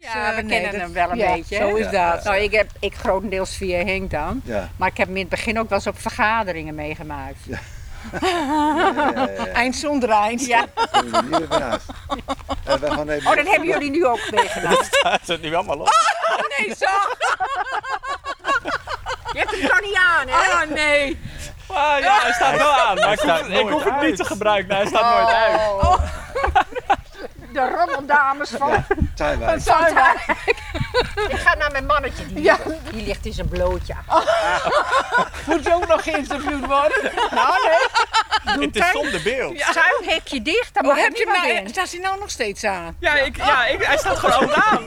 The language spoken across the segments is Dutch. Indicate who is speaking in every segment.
Speaker 1: Ja, we
Speaker 2: Eh, nee,
Speaker 1: kennen
Speaker 2: dat-
Speaker 1: hem wel een
Speaker 2: ja, Oh,
Speaker 1: beetje.
Speaker 2: Zo is
Speaker 1: hè?
Speaker 2: dat.
Speaker 1: Nou, ik heb ik grotendeels via Henk dan.
Speaker 3: Ja.
Speaker 1: Maar ik heb hem in het begin ook wel eens op vergaderingen meegemaakt. Ja,
Speaker 2: Eind zonder eind.
Speaker 3: Kunnen we niet even naast. En we gaan even
Speaker 1: Oh, dat hebben jullie nu ook meegemaakt.
Speaker 4: Staat het nu allemaal op?
Speaker 1: Oh nee, zo! Je hebt hem toch niet aan, hè? Oh nee!
Speaker 4: Ah, ja, hij staat wel aan, maar ik hoef, het- ik hoef het niet te gebruiken. Hij staat nooit
Speaker 2: Oh.
Speaker 4: uit.
Speaker 1: De rommeldames van
Speaker 3: Ja, tuinwijs.
Speaker 1: Ik ga naar mijn mannetje, die,
Speaker 2: Ja.
Speaker 1: ligt, die ligt in zijn blootje.
Speaker 2: Moet ze ook nog geïnterviewd worden? Nou, nee.
Speaker 4: Het is zonder beeld. Ja,
Speaker 1: Tuinhekje dicht, daar
Speaker 2: Hoe
Speaker 1: mag
Speaker 2: heb je
Speaker 1: Oh, je
Speaker 2: hem
Speaker 1: maar
Speaker 2: nou,
Speaker 1: in.
Speaker 2: staat hij nou nog steeds aan?
Speaker 4: ik, ja ik, hij staat gewoon aan.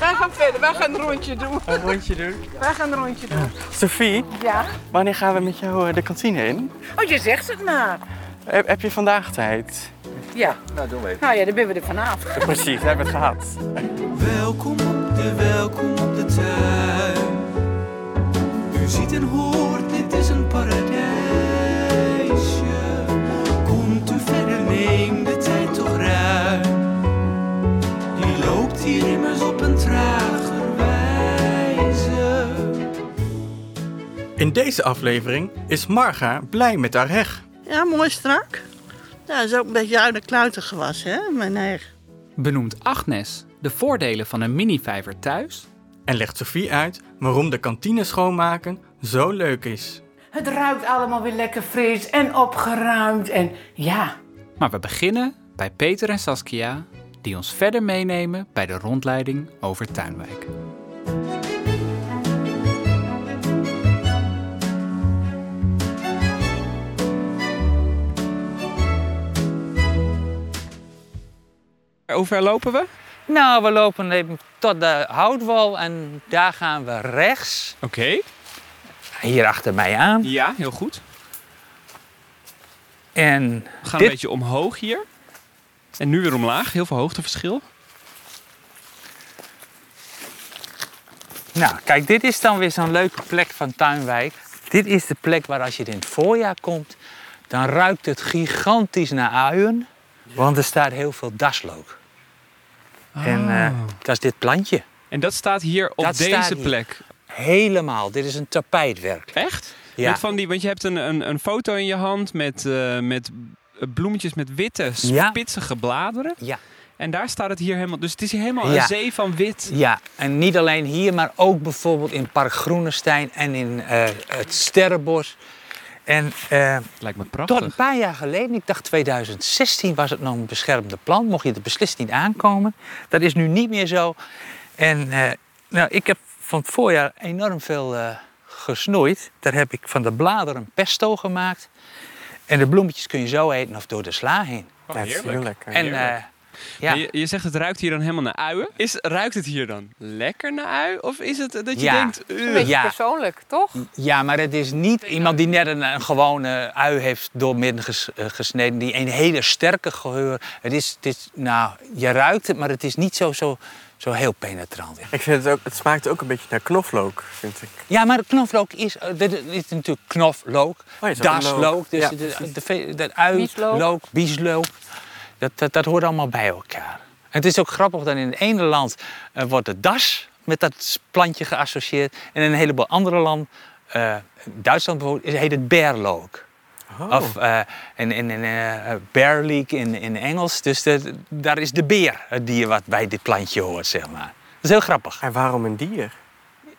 Speaker 2: Wij gaan verder, wij gaan een rondje doen.
Speaker 4: Een rondje doen.
Speaker 2: Wij gaan een rondje doen.
Speaker 4: Sophie,
Speaker 2: Ja?
Speaker 4: wanneer gaan we met jou eh, de kantine in?
Speaker 2: Oh, je zegt het maar.
Speaker 4: Heb, heb je vandaag tijd?
Speaker 2: Ja.
Speaker 3: Nou, doen we even.
Speaker 2: Nou ja, dan ben we er vanaf.
Speaker 4: Precies, we hebben het gehad.
Speaker 5: Welkom op de, welkom op de tuin. U ziet en hoort, dit is een paradijsje. Komt u verder, neem de tijd toch ruim. Die loopt hier immers op een trager wijze.
Speaker 4: In deze aflevering is Marga blij met haar heg.
Speaker 6: Ja, mooi strak. Ja, is ook een beetje uit de kluiten gewassen, hè, mijn heg.
Speaker 7: Benoemt Agnes de voordelen van een minivijver thuis?
Speaker 4: En legt Sophie uit waarom de kantine schoonmaken zo leuk is.
Speaker 8: Het ruikt allemaal weer lekker fris en opgeruimd. En ja,
Speaker 7: Maar we beginnen bij Peter en Saskia, die ons verder meenemen bij de rondleiding over Tuinwijk.
Speaker 4: Hoe ver lopen we?
Speaker 9: Nou, we lopen even tot de houtwal en daar gaan we rechts.
Speaker 4: Oké.
Speaker 9: Hier achter mij aan.
Speaker 4: Ja, heel goed.
Speaker 9: En
Speaker 4: We gaan
Speaker 9: Dit-
Speaker 4: een beetje omhoog hier. En nu weer omlaag. Heel veel hoogteverschil.
Speaker 9: nou, kijk, dit is dan weer zo'n leuke plek van Tuinwijk. Dit is de plek waar als je in het voorjaar komt, dan ruikt het gigantisch naar uien. Want er staat heel veel daslook. En eh, dat is dit plantje.
Speaker 4: Ah. En dat staat hier op
Speaker 9: Dat staat
Speaker 4: deze
Speaker 9: hier.
Speaker 4: plek.
Speaker 9: Helemaal. Dit is een tapijtwerk.
Speaker 4: Echt?
Speaker 9: Ja.
Speaker 4: Met van die, want je hebt een, een, een foto in je hand met, eh, met bloemetjes met witte,
Speaker 9: Ja.
Speaker 4: spitsige bladeren.
Speaker 9: Ja.
Speaker 4: En daar staat het hier helemaal. Dus het is hier helemaal
Speaker 9: Ja.
Speaker 4: een zee van wit.
Speaker 9: Ja, en niet alleen hier, maar ook bijvoorbeeld in Park Groenestein en in eh, het Sterrenbos. En eh,
Speaker 4: Lijkt me
Speaker 9: tot
Speaker 4: prachtig.
Speaker 9: een paar jaar geleden, ik dacht 2016, was het nog een beschermde plant. Mocht je er beslist niet aankomen. Dat is nu niet meer zo. En eh, nou, ik heb van het voorjaar enorm veel eh, gesnoeid. Daar heb ik van de bladeren een pesto gemaakt. En de bloemetjes kun je zo eten of door de sla heen.
Speaker 4: Oh, heerlijk.
Speaker 9: en
Speaker 4: Heerlijk.
Speaker 9: eh, ja.
Speaker 4: Maar Je, je zegt het ruikt hier dan helemaal naar uien. Is, ruikt het hier dan lekker naar ui? Of is het dat je
Speaker 9: Ja.
Speaker 4: denkt... eh,
Speaker 2: Een beetje
Speaker 9: Ja.
Speaker 2: persoonlijk, toch?
Speaker 9: Ja, maar het is niet iemand die net een, een gewone ui heeft doormidden ges- eh, gesneden. Die een hele sterke geur. Het is, het is, nou, je ruikt het, maar het is niet zo, zo, zo heel penetrant.
Speaker 10: Ik vind het ook, het smaakt ook een beetje naar knoflook, vind ik.
Speaker 9: Ja, maar knoflook is, eh, dit dit is natuurlijk knoflook,
Speaker 10: ja, Oh, is ook
Speaker 9: daslook.
Speaker 10: look.
Speaker 9: Dus
Speaker 10: Ja,
Speaker 9: de, de, ve- dat ui,
Speaker 2: Bieslook.
Speaker 9: look, bieslook. Dat, dat, dat hoort allemaal bij elkaar. En het is ook grappig dat in het ene land eh, wordt de das met dat plantje geassocieerd. En in een heleboel andere landen, eh, Duitsland bijvoorbeeld, is- heet het bearlook.
Speaker 10: Oh.
Speaker 9: Of eh, in, in, in eh, bear leek in, in Engels. Dus de- daar is de beer het dier wat bij dit plantje hoort, zeg maar. Dat is heel grappig.
Speaker 10: En waarom een dier?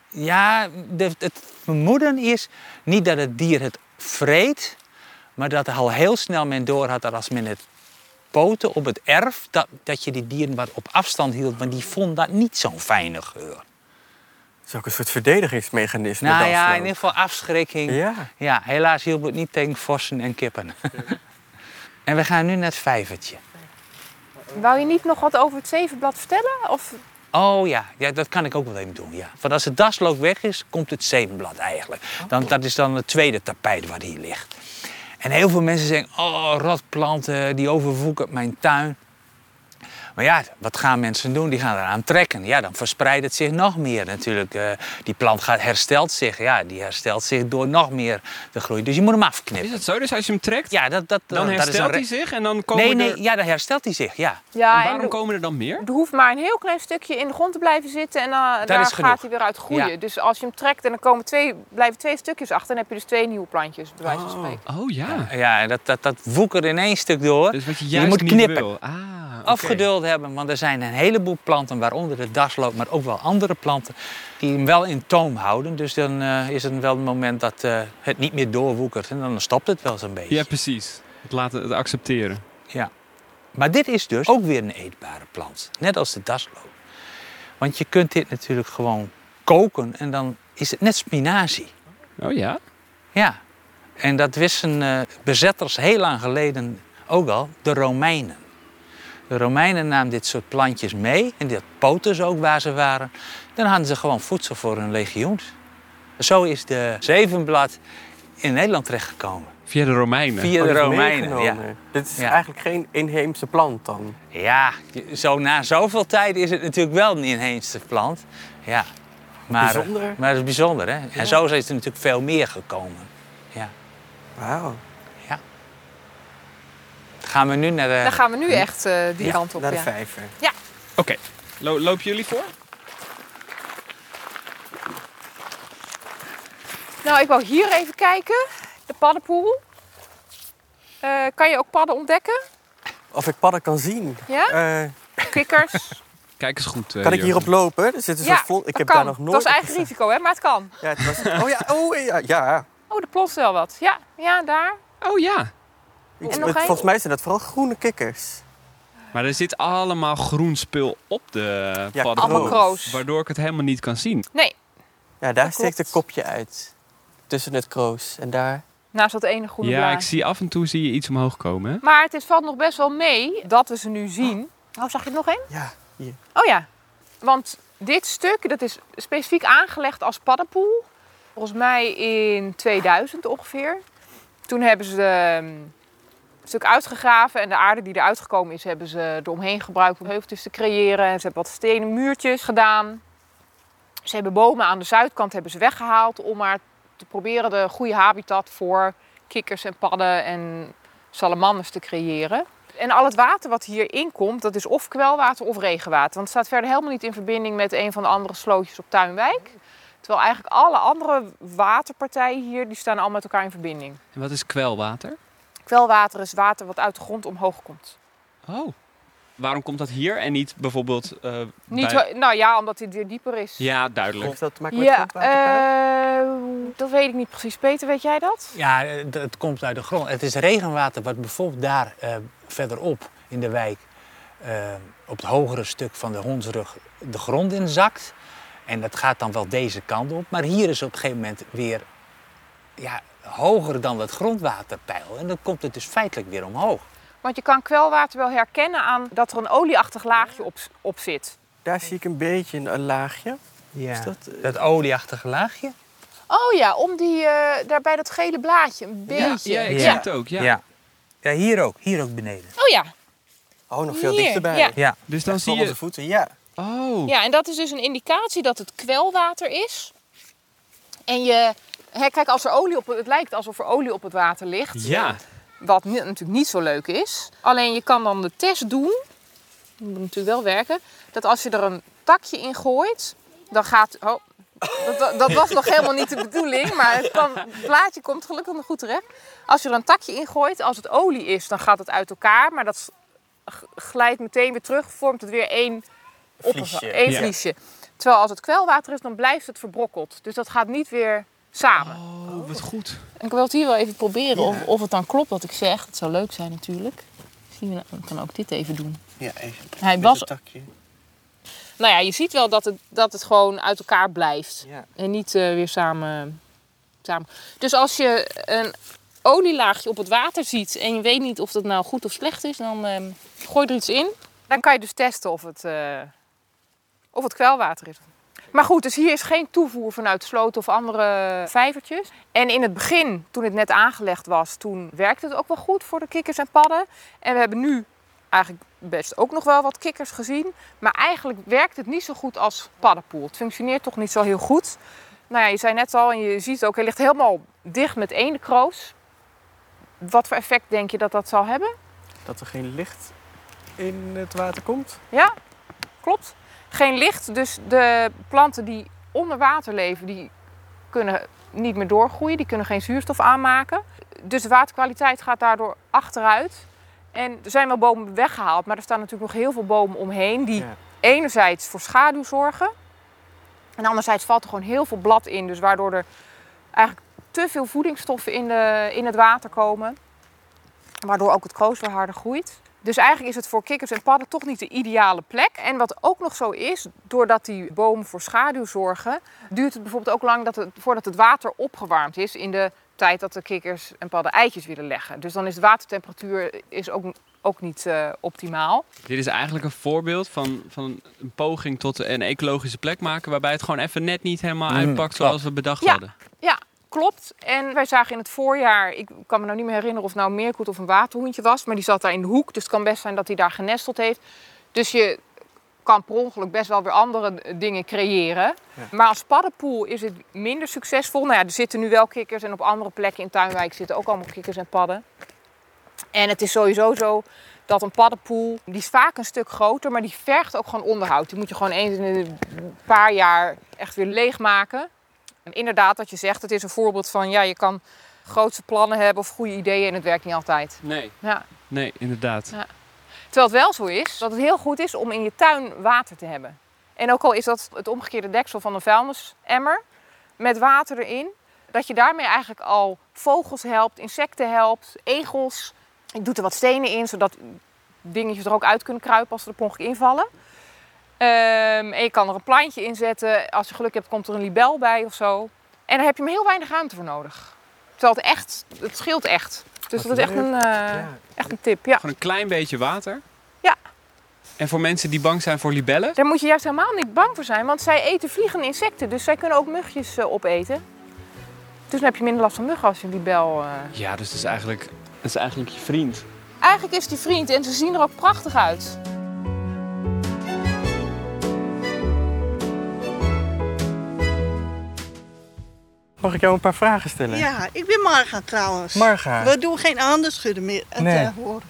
Speaker 9: Ja, de- het vermoeden is niet dat het dier het vreet, maar dat al heel snel men doorhad dat als men het poten op het erf, dat, dat je die dieren wat op afstand hield, want die vond dat niet zo'n fijne geur.
Speaker 10: Het is ook een soort verdedigingsmechanisme.
Speaker 9: nou ja, in
Speaker 10: daslook.
Speaker 9: ieder geval afschrikking.
Speaker 10: Ja.
Speaker 9: Ja, helaas hielp het niet tegen vossen en kippen. en we gaan nu naar het vijvertje.
Speaker 2: Wou je niet nog wat over het zevenblad vertellen? Of...
Speaker 9: Oh ja, ja, dat kan ik ook wel even doen. Ja. Want als het daslook weg is, komt het zevenblad eigenlijk.
Speaker 11: Oh.
Speaker 9: Dan, dat is dan het tweede tapijt waar die ligt. En heel veel mensen zeggen, oh, rotplanten, die overwoekert mijn tuin. Maar ja, wat gaan mensen doen? Die gaan eraan trekken. Ja, dan verspreidt het zich nog meer natuurlijk. Eh, die plant gaat, herstelt zich. Ja, die herstelt zich door nog meer te groeien. Dus je moet hem afknippen. Is
Speaker 11: dat zo? Dus als je hem trekt,
Speaker 9: ja, dat, dat,
Speaker 11: Dan
Speaker 9: dat is
Speaker 11: herstelt
Speaker 9: een re-
Speaker 11: hij zich en dan komen
Speaker 9: nee, nee,
Speaker 11: er-
Speaker 9: Ja, dan herstelt hij zich, ja.
Speaker 1: Ja,
Speaker 11: en
Speaker 1: en
Speaker 11: waarom
Speaker 1: de-
Speaker 11: komen er dan meer?
Speaker 1: Er hoeft maar een heel klein stukje in de grond te blijven zitten en dan, daar
Speaker 9: is genoeg.
Speaker 1: gaat hij weer uit groeien.
Speaker 9: Ja.
Speaker 1: Dus als je hem trekt en er komen twee, blijven twee stukjes achter, dan heb je dus twee nieuwe plantjes, bij wijze van spreken.
Speaker 11: Oh ja.
Speaker 9: Ah. Ja, en dat, dat, dat woekert in één stuk door. Dus wat
Speaker 11: juist
Speaker 9: moet
Speaker 11: niet
Speaker 9: knippen.
Speaker 11: wil. Ah.
Speaker 9: Afgeduld hebben, want er zijn een heleboel planten, waaronder de dasloop, maar ook wel andere planten, die hem wel in toom houden. Dus dan eh, is het wel een moment dat eh, het niet meer doorwoekert en dan stopt het wel zo'n beetje.
Speaker 11: Ja, precies. Het laten het accepteren.
Speaker 9: Ja. Maar dit is dus ook weer een eetbare plant, net als de dasloop. Want je kunt dit natuurlijk gewoon koken en dan is het net spinazie.
Speaker 11: Oh ja?
Speaker 9: Ja. En dat wisten eh, bezetters heel lang geleden ook al, de Romeinen. De Romeinen namen dit soort plantjes mee, en dat poten ze ook waar ze waren. Dan hadden ze gewoon voedsel voor hun legioens. Zo is de zevenblad in Nederland terechtgekomen.
Speaker 11: Via de Romeinen.
Speaker 9: Via
Speaker 4: Oh,
Speaker 9: de
Speaker 4: die is
Speaker 9: Romeinen, ja.
Speaker 4: meegenomen. Dit is
Speaker 9: Ja.
Speaker 4: eigenlijk geen inheemse plant dan.
Speaker 9: Ja, zo na zoveel tijd is het natuurlijk wel een inheemse plant. Ja. Maar,
Speaker 4: Bijzonder.
Speaker 9: Maar het is bijzonder, hè? En zo is er natuurlijk veel meer gekomen. Ja.
Speaker 4: Wauw.
Speaker 9: Ja. Dan gaan we nu naar de...
Speaker 1: Dan gaan we nu echt eh, die
Speaker 9: Hm. Ja,
Speaker 1: kant op.
Speaker 9: naar de
Speaker 1: ja.
Speaker 9: vijver.
Speaker 1: Ja.
Speaker 11: Oké. Lo- lopen jullie voor?
Speaker 1: Nou, ik wou hier even kijken. De paddenpoel. Eh, kan je ook padden ontdekken?
Speaker 4: Of ik padden kan zien.
Speaker 1: Ja?
Speaker 4: Eh,
Speaker 1: Kikkers?
Speaker 11: Kijk eens goed. eh,
Speaker 4: kan ik
Speaker 11: Jurgen.
Speaker 4: hierop lopen? Er zit een soort vlon- Ik
Speaker 1: dat
Speaker 4: heb
Speaker 1: kan.
Speaker 4: daar nog nooit
Speaker 1: Dat is
Speaker 4: op
Speaker 1: eigen
Speaker 4: gestaan.
Speaker 1: risico, hè? Maar het kan.
Speaker 4: Ja, het was... Oh ja, oh ja, ja.
Speaker 1: Oh, er plotst wel wat. Ja, ja daar.
Speaker 11: Oh ja.
Speaker 4: Iets
Speaker 1: En
Speaker 4: met-
Speaker 1: nog één?
Speaker 4: volgens mij zijn dat vooral groene kikkers.
Speaker 11: Maar er zit allemaal groen spul op de
Speaker 4: Ja,
Speaker 11: paddenbrood.
Speaker 4: kroos.
Speaker 11: Waardoor ik het helemaal niet kan zien.
Speaker 1: Nee,
Speaker 4: Ja, daar steekt een kopje uit. Tussen het kroos. En daar...
Speaker 1: naast dat ene groene
Speaker 11: ja,
Speaker 1: blaadje.
Speaker 11: ik zie af en toe zie je iets omhoog komen. Hè?
Speaker 1: Maar het is, valt nog best wel mee dat we ze nu zien. Oh, zag je er nog één?
Speaker 4: Ja, hier.
Speaker 1: Oh ja, want dit stuk dat is specifiek aangelegd als paddenpoel. Volgens mij in 2000 ongeveer. Toen hebben ze ehm, een stuk uitgegraven en de aarde die eruit gekomen is, hebben ze eromheen gebruikt om heuveltjes te creëren. En ze hebben wat stenen muurtjes gedaan. Ze hebben bomen aan de zuidkant hebben ze weggehaald om maar te proberen de goede habitat voor kikkers en padden en salamanders te creëren. En al het water wat hierin komt, dat is of kwelwater of regenwater. Want het staat verder helemaal niet in verbinding met een van de andere slootjes op Tuinwijk. Terwijl eigenlijk alle andere waterpartijen hier, die staan allemaal met elkaar in verbinding.
Speaker 11: En wat is kwelwater?
Speaker 1: Kwelwater is water wat uit de grond omhoog komt.
Speaker 11: Oh. Waarom komt dat hier en niet bijvoorbeeld... eh,
Speaker 1: Niet,
Speaker 11: bij-
Speaker 1: ho- nou ja, omdat dit weer dieper is.
Speaker 11: Ja, duidelijk.
Speaker 4: Heeft dat te
Speaker 1: Ja, eh, dat weet ik niet precies. Peter, weet jij dat?
Speaker 9: Ja, het- het komt uit de grond. Het is regenwater wat bijvoorbeeld daar eh, verderop in de wijk... eh, op het hogere stuk van de hondsrug de grond inzakt. En dat gaat dan wel deze kant op. Maar hier is op een gegeven moment weer ja, hoger dan dat grondwaterpeil. En dan komt het dus feitelijk weer omhoog.
Speaker 1: Want je kan kwelwater wel herkennen aan dat er een olieachtig laagje op, op zit.
Speaker 4: Daar zie ik een beetje een, een laagje. Is dat,
Speaker 9: dat eh, olieachtige laagje?
Speaker 1: Oh ja, om die, eh, daar bij dat gele blaadje, een beetje.
Speaker 11: ook.
Speaker 9: Ja. ja. hier ook. Hier ook beneden.
Speaker 1: Oh ja.
Speaker 4: Oh, nog
Speaker 1: veel Hier, dichterbij. ja.
Speaker 11: Dus dan zie
Speaker 4: onze voeten, ja.
Speaker 11: Oh.
Speaker 1: Ja, en dat is dus een indicatie dat het kwelwater is. En je, hè, kijk, als er olie op, het lijkt alsof er olie op het water ligt.
Speaker 11: Ja.
Speaker 1: Wat ni- natuurlijk niet zo leuk is. Alleen je kan dan de test doen. Dat moet natuurlijk wel werken. Dat als je er een takje in gooit, dan gaat. Oh, dat, dat, dat was nog helemaal niet de bedoeling, maar het, kan, het blaadje komt gelukkig nog goed terecht. Als je er een takje in gooit, als het olie is, dan gaat het uit elkaar. Maar dat s- g- glijdt meteen weer terug, vormt het weer één oppervlakte. één
Speaker 12: Ja.
Speaker 1: vliesje. Terwijl als het kwelwater is, dan blijft het verbrokkeld. Dus dat gaat niet weer samen.
Speaker 11: Oh, wat goed.
Speaker 1: En ik wil het hier wel even proberen of, of het dan klopt wat ik zeg. Dat zou leuk zijn natuurlijk. Zien we, dan kan ook dit even doen.
Speaker 6: Ja, even.
Speaker 1: Hij
Speaker 6: Met
Speaker 1: was-
Speaker 6: een takje.
Speaker 1: Nou ja, je ziet wel dat het, dat het gewoon uit elkaar blijft.
Speaker 6: Ja.
Speaker 1: En niet eh, weer samen, samen. Dus als je een olielaagje op het water ziet en je weet niet of dat nou goed of slecht is, dan ehm, gooi er iets in. Dan kan je dus testen of het, eh, of het kwelwater is. Maar goed, dus hier is geen toevoer vanuit sloten of andere vijvertjes. En in het begin, toen het net aangelegd was, toen werkte het ook wel goed voor de kikkers en padden. En we hebben nu eigenlijk best ook nog wel wat kikkers gezien. Maar eigenlijk werkt het niet zo goed als paddenpoel. Het functioneert toch niet zo heel goed. Nou ja, je zei net al en je ziet ook, hij ligt helemaal dicht met één kroos. Wat voor effect denk je dat dat zal hebben?
Speaker 4: Dat er geen licht in het water komt.
Speaker 1: Ja, klopt. Geen licht, dus de planten die onder water leven, die kunnen niet meer doorgroeien, die kunnen geen zuurstof aanmaken. Dus de waterkwaliteit gaat daardoor achteruit. En er zijn wel bomen weggehaald, maar er staan natuurlijk nog heel veel bomen omheen die enerzijds voor schaduw zorgen. En anderzijds valt er gewoon heel veel blad in, dus waardoor er eigenlijk te veel voedingsstoffen in, de, in het water komen. Waardoor ook het kroos weer harder groeit. Dus eigenlijk is het voor kikkers en padden toch niet de ideale plek. En wat ook nog zo is, doordat die bomen voor schaduw zorgen, duurt het bijvoorbeeld ook lang dat het, voordat het water opgewarmd is in de tijd dat de kikkers en padden eitjes willen leggen. Dus dan is de watertemperatuur is ook, ook niet eh, optimaal.
Speaker 11: Dit is eigenlijk een voorbeeld van, van een poging tot een ecologische plek maken... waarbij het gewoon even net niet helemaal
Speaker 9: Mm,
Speaker 11: uitpakt zoals we bedacht
Speaker 1: Ja.
Speaker 11: hadden.
Speaker 1: Ja, klopt. En wij zagen in het voorjaar, ik kan me nou niet meer herinneren of het nou een meerkoet of een waterhoentje was, maar die zat daar in de hoek, dus het kan best zijn dat hij daar genesteld heeft. Dus je kan per ongeluk best wel weer andere eh, dingen creëren. Maar als paddenpoel is het minder succesvol. Nou ja, er zitten nu wel kikkers en op andere plekken in Tuinwijk zitten ook allemaal kikkers en padden. En het is sowieso zo dat een paddenpoel, die is vaak een stuk groter, maar die vergt ook gewoon onderhoud. Die moet je gewoon eens in een paar jaar echt weer leegmaken. En inderdaad, wat je zegt, het is een voorbeeld van ja, je kan grootse plannen hebben of goede ideeën en het werkt niet altijd.
Speaker 11: Nee.
Speaker 1: Ja,
Speaker 11: Nee, inderdaad.
Speaker 1: ja. Terwijl het wel zo is dat het heel goed is om in je tuin water te hebben. En ook al is dat het omgekeerde deksel van een vuilnisemmer met water erin, dat je daarmee eigenlijk al vogels helpt, insecten helpt, egels. Ik doe er wat stenen in, zodat dingetjes er ook uit kunnen kruipen als ze er per ongeluk invallen. Ehm, en je kan er een plantje in zetten. Als je geluk hebt, komt er een libel bij of zo. En daar heb je maar heel weinig ruimte voor nodig. Terwijl het echt, het scheelt echt. Dus
Speaker 11: Wat
Speaker 1: dat is echt
Speaker 11: leuk.
Speaker 1: een, eh, echt een tip. Ja.
Speaker 11: Gewoon een klein beetje water.
Speaker 1: Ja.
Speaker 11: En voor mensen die bang zijn voor libellen...
Speaker 1: Daar moet je juist helemaal niet bang voor zijn, want zij eten vliegende insecten. Dus zij kunnen ook mugjes eh, opeten. Dus dan heb je minder last van muggen als je een libel. eh,
Speaker 11: Ja, dus het is eigenlijk, het is eigenlijk je vriend.
Speaker 1: Eigenlijk is die vriend en ze zien er ook prachtig uit.
Speaker 4: Mag ik jou een paar vragen stellen?
Speaker 6: Ja, ik ben Marga trouwens.
Speaker 4: Marga.
Speaker 6: We doen geen handen schudden meer. Het,
Speaker 4: Nee.
Speaker 6: eh, horen.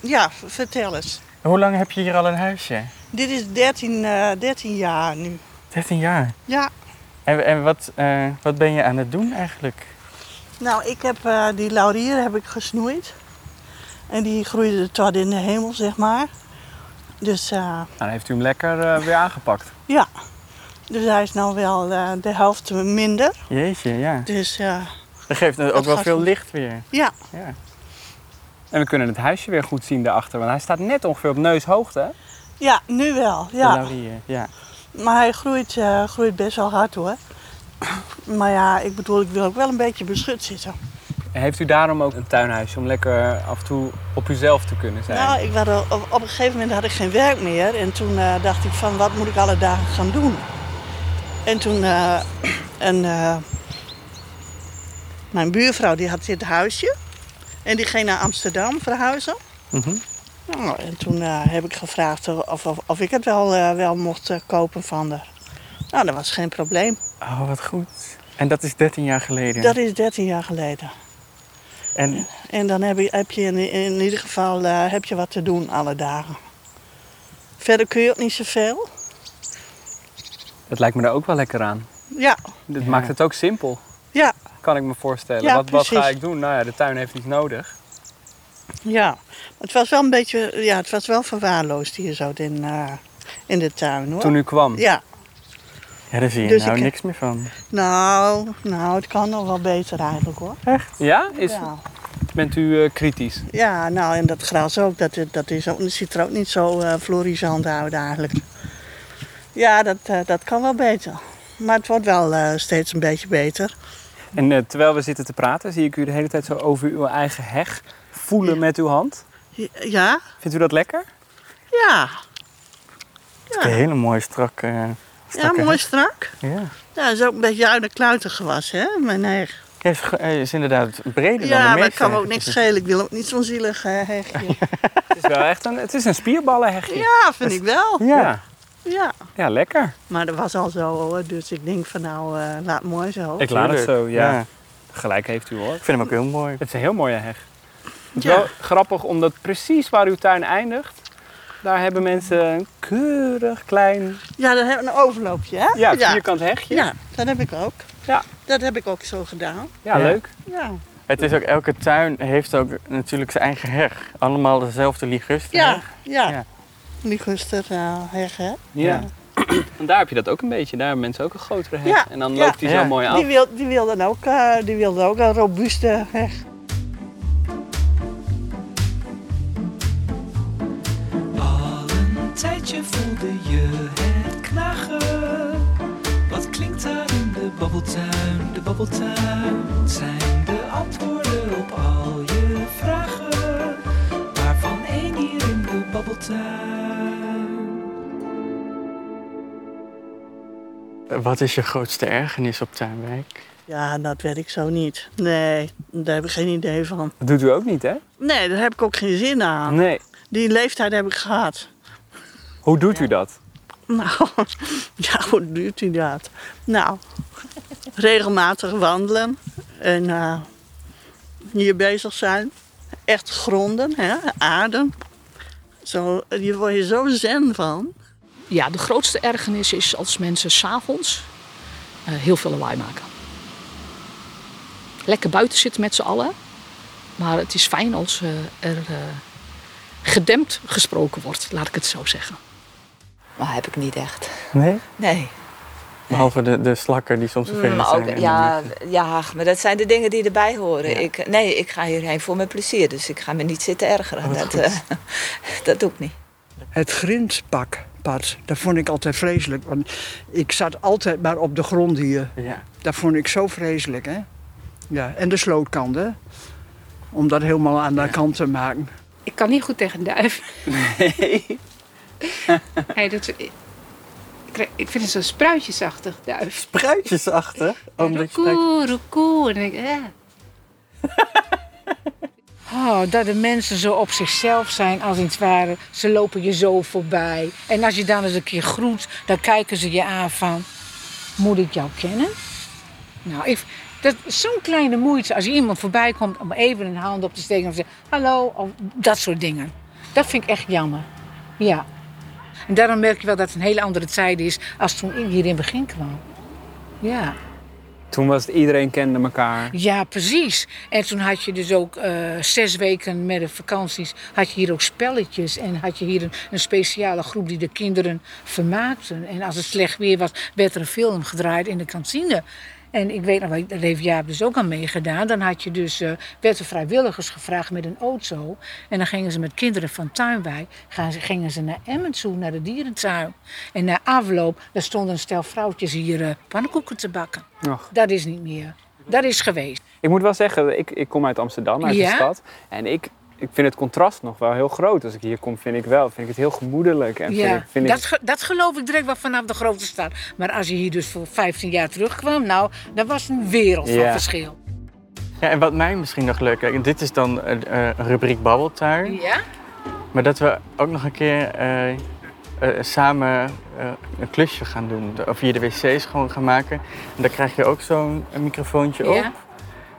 Speaker 6: ja, v- vertel eens.
Speaker 4: En Hoe lang heb je hier al een huisje?
Speaker 6: Dit is 13, eh, 13 jaar nu.
Speaker 4: 13 jaar.
Speaker 6: Ja,
Speaker 4: En, en wat, eh, wat ben je aan het doen eigenlijk?
Speaker 6: nou ik heb eh, die laurier heb ik gesnoeid. En die groeide tot in de hemel, zeg maar. Dus eh,
Speaker 5: Nou, Dan heeft u hem lekker eh, weer aangepakt.
Speaker 6: ja, dus hij is nou wel eh, de helft minder.
Speaker 4: Jeetje, ja.
Speaker 6: Dus eh,
Speaker 5: Dat geeft het ook
Speaker 6: Dat
Speaker 5: wel
Speaker 6: gaat
Speaker 5: veel
Speaker 6: goed.
Speaker 5: licht weer.
Speaker 6: ja,
Speaker 5: Ja. En we kunnen het huisje weer goed zien daarachter, want hij staat net ongeveer op neushoogte. hè?
Speaker 6: ja, nu wel. Ja.
Speaker 5: De laurier, ja.
Speaker 6: Maar hij groeit, eh, groeit best wel hard hoor. Maar ja, ik bedoel, ik wil ook wel een beetje beschut zitten.
Speaker 5: En Heeft u daarom ook een tuinhuisje om lekker af en toe op uzelf te kunnen zijn?
Speaker 6: Nou, ik was, op, op een gegeven moment had ik geen werk meer. En toen eh, dacht ik van, wat moet ik alle dagen gaan doen? En toen, eh, een, eh, mijn buurvrouw die had dit huisje. En die ging naar Amsterdam verhuizen. Nou, en toen eh, heb ik gevraagd of, of, of ik het wel, eh, wel mocht eh, kopen van haar. Nou, dat was geen probleem.
Speaker 4: Oh, wat goed. En dat is 13 jaar geleden.
Speaker 6: Dat is 13 jaar geleden.
Speaker 4: En
Speaker 6: En dan heb je, heb je in, in ieder geval eh, heb je wat te doen alle dagen. Verder kun je ook niet zoveel.
Speaker 5: Dat lijkt me er ook wel lekker aan.
Speaker 6: Ja,
Speaker 5: Dat maakt het ook simpel,
Speaker 6: ja,
Speaker 5: kan ik me voorstellen.
Speaker 6: Ja,
Speaker 5: wat, wat ga
Speaker 6: precies.
Speaker 5: ik doen? Nou ja, de tuin heeft iets nodig.
Speaker 6: ja. Maar Het was wel een beetje, ja, het was wel verwaarloosd hier zo in, eh, in de tuin hoor.
Speaker 5: Toen u kwam?
Speaker 6: Ja.
Speaker 4: Ja, daar zie je
Speaker 6: Dus
Speaker 4: nou
Speaker 6: ik-
Speaker 4: niks meer van.
Speaker 6: Nou, nou, het kan nog wel beter eigenlijk hoor.
Speaker 4: Echt?
Speaker 5: Ja? Is,
Speaker 6: Ja.
Speaker 5: Bent u eh, kritisch?
Speaker 6: Ja, nou en dat gras ook, dat, dat, is, ook- dat ziet er ook niet zo eh, florisant uit eigenlijk. Ja, dat, eh, dat kan wel beter. Maar het wordt wel eh, steeds een beetje beter.
Speaker 5: En eh, terwijl we zitten te praten, zie ik u de hele tijd zo over uw eigen heg voelen met uw hand.
Speaker 6: Ja?
Speaker 5: Vindt u dat lekker?
Speaker 6: Ja.
Speaker 4: Een hele mooie strak. eh,
Speaker 6: Ja,
Speaker 4: strakke
Speaker 6: mooi
Speaker 4: hek.
Speaker 6: strak.
Speaker 4: Ja.
Speaker 6: Ja, dat is ook een beetje uit de kluiten gewassen, hè, mijn neig.
Speaker 4: Hij is, ge- hij is inderdaad breder dan de
Speaker 6: ja, maar het
Speaker 4: meeste.
Speaker 6: kan me ook niks schelen. Ik wil ook niet zo'n zielig eh, hegje.
Speaker 5: Het is wel echt een, het is een spierballenhegje.
Speaker 6: Ja, vind ik wel.
Speaker 5: Ja.
Speaker 6: Ja,
Speaker 5: ja, lekker.
Speaker 6: maar dat was al zo hoor. Dus ik denk van nou, eh, laat mooi zo.
Speaker 5: Ik laat het zo, ja.
Speaker 4: Ja.
Speaker 5: Gelijk heeft u hoor. Ik
Speaker 4: vind hem ook heel mooi.
Speaker 5: Het is een heel mooie heg. Het is
Speaker 6: Ja.
Speaker 5: wel grappig, omdat precies waar uw tuin eindigt, daar hebben mensen een keurig klein,
Speaker 6: Ja, dan hebben we een overloopje, hè?
Speaker 5: ja, vierkant hegje.
Speaker 6: Ja, dat heb ik ook.
Speaker 5: Ja.
Speaker 6: Dat heb ik ook zo gedaan.
Speaker 5: Ja, leuk.
Speaker 6: Ja.
Speaker 4: Het is ook, elke tuin heeft ook natuurlijk zijn eigen heg. Allemaal dezelfde liguster.
Speaker 6: Ja, ja. Liguster eh, heg, hè?
Speaker 5: Ja. en daar heb je dat ook een beetje. Daar hebben mensen ook een grotere heg.
Speaker 6: Ja,
Speaker 5: en dan
Speaker 6: ja.
Speaker 5: loopt die zo mooi af.
Speaker 6: Die wil, die wil dan ook, eh, die wil dan ook een robuuste heg.
Speaker 13: Een tijdje voelde je het knagen. Wat klinkt daar in de babbeltuin? De babbeltuin zijn de antwoorden op al je vragen. Waarvan één hier in de babbeltuin.
Speaker 4: Wat is je grootste ergernis op tuinwerk?
Speaker 6: Ja, dat weet ik zo niet. Nee, daar heb ik geen idee van.
Speaker 5: Dat doet u ook niet, hè?
Speaker 6: Nee, daar heb ik ook geen zin aan.
Speaker 5: Nee.
Speaker 6: Die leeftijd heb ik gehad.
Speaker 5: Hoe doet u dat?
Speaker 6: Nou, ja, hoe duurt u dat? Nou, regelmatig wandelen en eh, hier bezig zijn. Echt gronden, hè? aarden. Zo, hier word je zo zen van.
Speaker 7: Ja, de grootste ergernis is als mensen s'avonds eh heel veel lawaai maken. Lekker buiten zitten met z'n allen. Maar het is fijn als eh, er eh, gedempt gesproken wordt, laat ik het zo zeggen.
Speaker 14: Maar heb ik niet echt.
Speaker 4: Nee.
Speaker 14: Nee.
Speaker 4: Behalve de, de slakken die soms vervelend
Speaker 14: Mm, Maar
Speaker 4: zijn.
Speaker 14: ook,
Speaker 4: en-
Speaker 14: ja, ja, maar dat zijn de dingen die erbij horen.
Speaker 4: Ja.
Speaker 14: Ik, nee, ik ga hierheen voor mijn plezier. Dus ik ga me niet zitten ergeren.
Speaker 15: Oh, wat
Speaker 14: dat,
Speaker 15: goed.
Speaker 14: eh, dat doe ik niet.
Speaker 15: Het grindpak, Pat, dat vond ik altijd vreselijk. Want ik zat altijd maar op de grond hier.
Speaker 4: Ja.
Speaker 15: Dat vond ik zo vreselijk, hè? Ja, en de slootkanten. Om dat helemaal aan de kant te maken.
Speaker 2: Ik kan niet goed tegen duiven. Nee. dat, ik, krijg- ik vind het zo'n spruitjesachtig duif.
Speaker 4: Spruitjes achter. Omdat je kijkt-
Speaker 2: Koeroe, koe. En ik, eh. Oh, dat de mensen zo op zichzelf zijn, als het ware. Ze lopen je zo voorbij. En als je dan eens een keer groet, dan kijken ze je aan van... Moet ik jou kennen? Nou, ik, dat is zo'n kleine moeite als je iemand voorbij komt... om even een hand op te steken of te zeggen... Hallo, of dat soort dingen. Dat vind ik echt jammer. Ja. En daarom merk je wel dat het een hele andere tijd is... als toen ik hier in het begin kwam. Ja.
Speaker 5: Toen was het iedereen kende elkaar.
Speaker 2: Ja, precies. En toen had je dus ook eh, zes weken met de vakanties, had je hier ook spelletjes. En had je hier een, een speciale groep die de kinderen vermaakten. En als het slecht weer was, werd er een film gedraaid in de kantine. En ik weet nog, wel, daar heeft Jaap dus ook aan meegedaan. Dan had je dus, eh werd er vrijwilligers gevraagd met een auto. En dan gingen ze met kinderen van Tuinwijk, gaan ze, gingen ze naar Emmen toe, naar de dierentuin. En na afloop, daar stonden een stel vrouwtjes hier eh, pannenkoeken te bakken.
Speaker 5: Och.
Speaker 2: Dat is niet meer. Dat is geweest.
Speaker 5: Ik moet wel zeggen, ik, ik kom uit Amsterdam, uit
Speaker 2: Ja?
Speaker 5: de stad. En ik, ik vind het contrast nog wel heel groot. Als ik hier kom, vind ik wel. Vind ik het heel gemoedelijk. En vind
Speaker 2: ja,
Speaker 5: ik, vind ik-
Speaker 2: dat, ge- dat geloof ik direct wel vanaf de grote stad. Maar als je hier dus voor 15 jaar terugkwam, nou, dat was een wereld van
Speaker 4: Ja.
Speaker 2: verschil.
Speaker 4: Ja, en wat mij misschien nog leuk lijkt, en dit is dan een rubriek Babbeltuin.
Speaker 2: Ja?
Speaker 4: Maar dat we ook nog een keer eh, eh, samen eh, een klusje gaan doen. Of hier de wc schoon gaan maken. En daar krijg je ook zo'n eh, microfoontje
Speaker 2: Ja.
Speaker 4: op.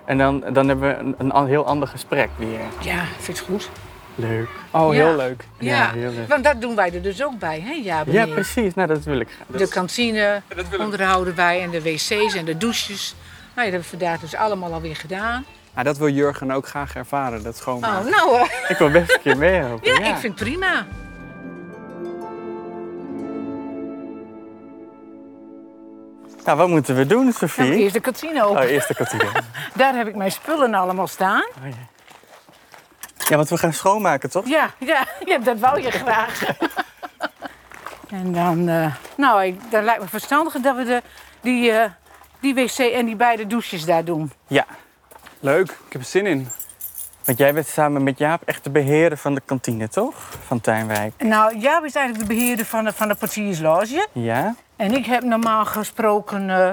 Speaker 4: En dan, dan hebben we een, een al- heel ander gesprek weer.
Speaker 2: Ja, ik vind het goed.
Speaker 4: Leuk.
Speaker 2: Oh, Ja. heel leuk.
Speaker 4: Ja, heel leuk.
Speaker 2: want dat doen wij er dus ook bij, hè? Ja,
Speaker 4: Ja,
Speaker 2: meneer?
Speaker 4: precies. Nou, dat wil ik graag.
Speaker 2: De kantine onderhouden wij en de wc's en de douches. Nou, dat hebben we vandaag dus allemaal alweer gedaan.
Speaker 5: Maar Ah, dat wil Jurgen ook graag ervaren, dat schoonmaken.
Speaker 2: Oh, nou, eh,
Speaker 4: Ik wil best een keer meehelpen.
Speaker 2: ja, ik vind het prima.
Speaker 4: Nou, wat moeten we doen, Sofie?
Speaker 2: Nou, eerst de kantine open.
Speaker 4: Oh, eerst de kantine.
Speaker 2: Daar heb ik mijn spullen allemaal staan.
Speaker 4: ja, want we gaan schoonmaken, toch?
Speaker 2: Ja, ja, ja dat wou je graag. en dan, eh, nou, ik, dan lijkt me verstandig dat we de, die, eh, die wc en die beide douches daar doen.
Speaker 4: Ja.
Speaker 5: Leuk, ik heb er zin in.
Speaker 4: Want jij bent samen met Jaap echt de beheerder van de kantine, toch? Van Tuinwijk.
Speaker 2: Nou, Jaap is eigenlijk de beheerder van de, van de portiersloge.
Speaker 4: Ja?
Speaker 2: En ik heb normaal gesproken eh,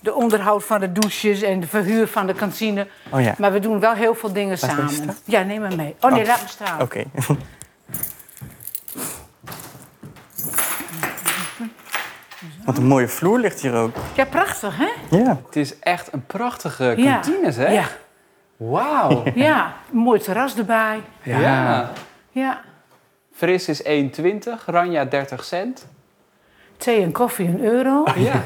Speaker 2: de onderhoud van de douches en de verhuur van de kantine.
Speaker 4: Oh ja.
Speaker 2: Maar we doen wel heel veel dingen
Speaker 4: Laat me even
Speaker 2: samen.
Speaker 4: staan.
Speaker 2: Ja, neem me mee. Oh nee, laat me staan.
Speaker 4: Oké. Wat een mooie vloer ligt hier ook.
Speaker 2: Ja, prachtig hè?
Speaker 4: Ja.
Speaker 11: Het is echt een prachtige
Speaker 2: Ja.
Speaker 11: kantine, zeg.
Speaker 2: Ja.
Speaker 11: Wauw.
Speaker 2: Ja, een mooi terras erbij.
Speaker 11: Ja.
Speaker 2: Ja,
Speaker 11: Fris is 1,20, Ranja 30 cent.
Speaker 2: thee en koffie een euro.
Speaker 11: Ja.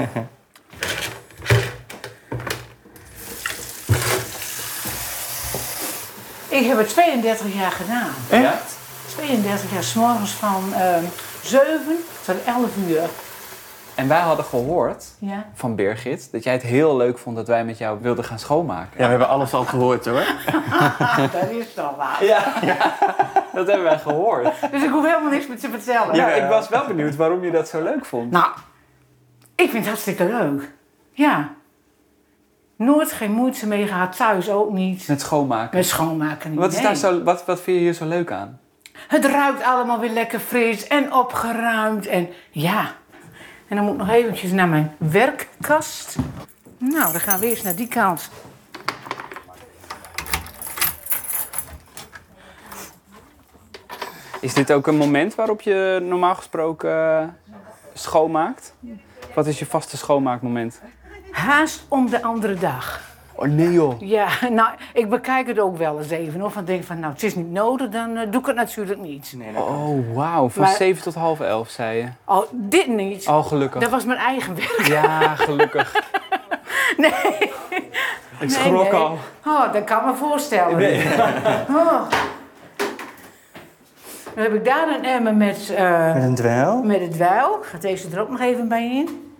Speaker 2: Ik heb het 32 jaar gedaan.
Speaker 11: Echt?
Speaker 2: 32 jaar, s morgens van ehm 7 tot 11 uur.
Speaker 11: En wij hadden gehoord
Speaker 2: Ja.
Speaker 11: van Birgit dat jij het heel leuk vond dat wij met jou wilden gaan schoonmaken.
Speaker 4: Ja, we hebben alles al gehoord hoor.
Speaker 2: dat is toch waar.
Speaker 11: Ja, dat hebben wij gehoord.
Speaker 2: Dus ik hoef helemaal niks meer te vertellen.
Speaker 11: Ja, ik was wel benieuwd waarom je dat zo leuk vond.
Speaker 2: Nou, ik vind het hartstikke leuk. Ja. Nooit geen moeite mee gehad, thuis ook niet.
Speaker 11: Met schoonmaken.
Speaker 2: Met schoonmaken niet,
Speaker 11: Wat, is daar
Speaker 2: nee.
Speaker 11: zo, wat, wat vind je hier zo leuk aan?
Speaker 2: Het ruikt allemaal weer lekker fris en opgeruimd en ja. En dan moet ik nog eventjes naar mijn werkkast. Nou, dan gaan we eerst naar die kant.
Speaker 5: Is dit ook een moment waarop je normaal gesproken eh, schoonmaakt? Wat is je vaste schoonmaakmoment?
Speaker 2: Haast om de andere dag.
Speaker 5: Oh nee joh.
Speaker 2: Ja, nou, ik bekijk het ook wel eens even hoor. Van denk van, nou, het is niet nodig, dan eh, doe ik het natuurlijk niet.
Speaker 5: Oh wauw, van
Speaker 2: Maar-
Speaker 5: 7 tot half 11 zei je.
Speaker 2: Oh, dit niet.
Speaker 5: Oh, gelukkig.
Speaker 2: Dat was mijn eigen werk.
Speaker 5: Ja, gelukkig.
Speaker 2: Nee,
Speaker 5: schrok
Speaker 2: nee.
Speaker 5: al.
Speaker 2: Oh, dat kan ik me voorstellen. Oh. Dan heb ik daar een emmer met... eh,
Speaker 4: Met een dweil.
Speaker 2: Met het dweil. Gaat deze er ook nog even bij in.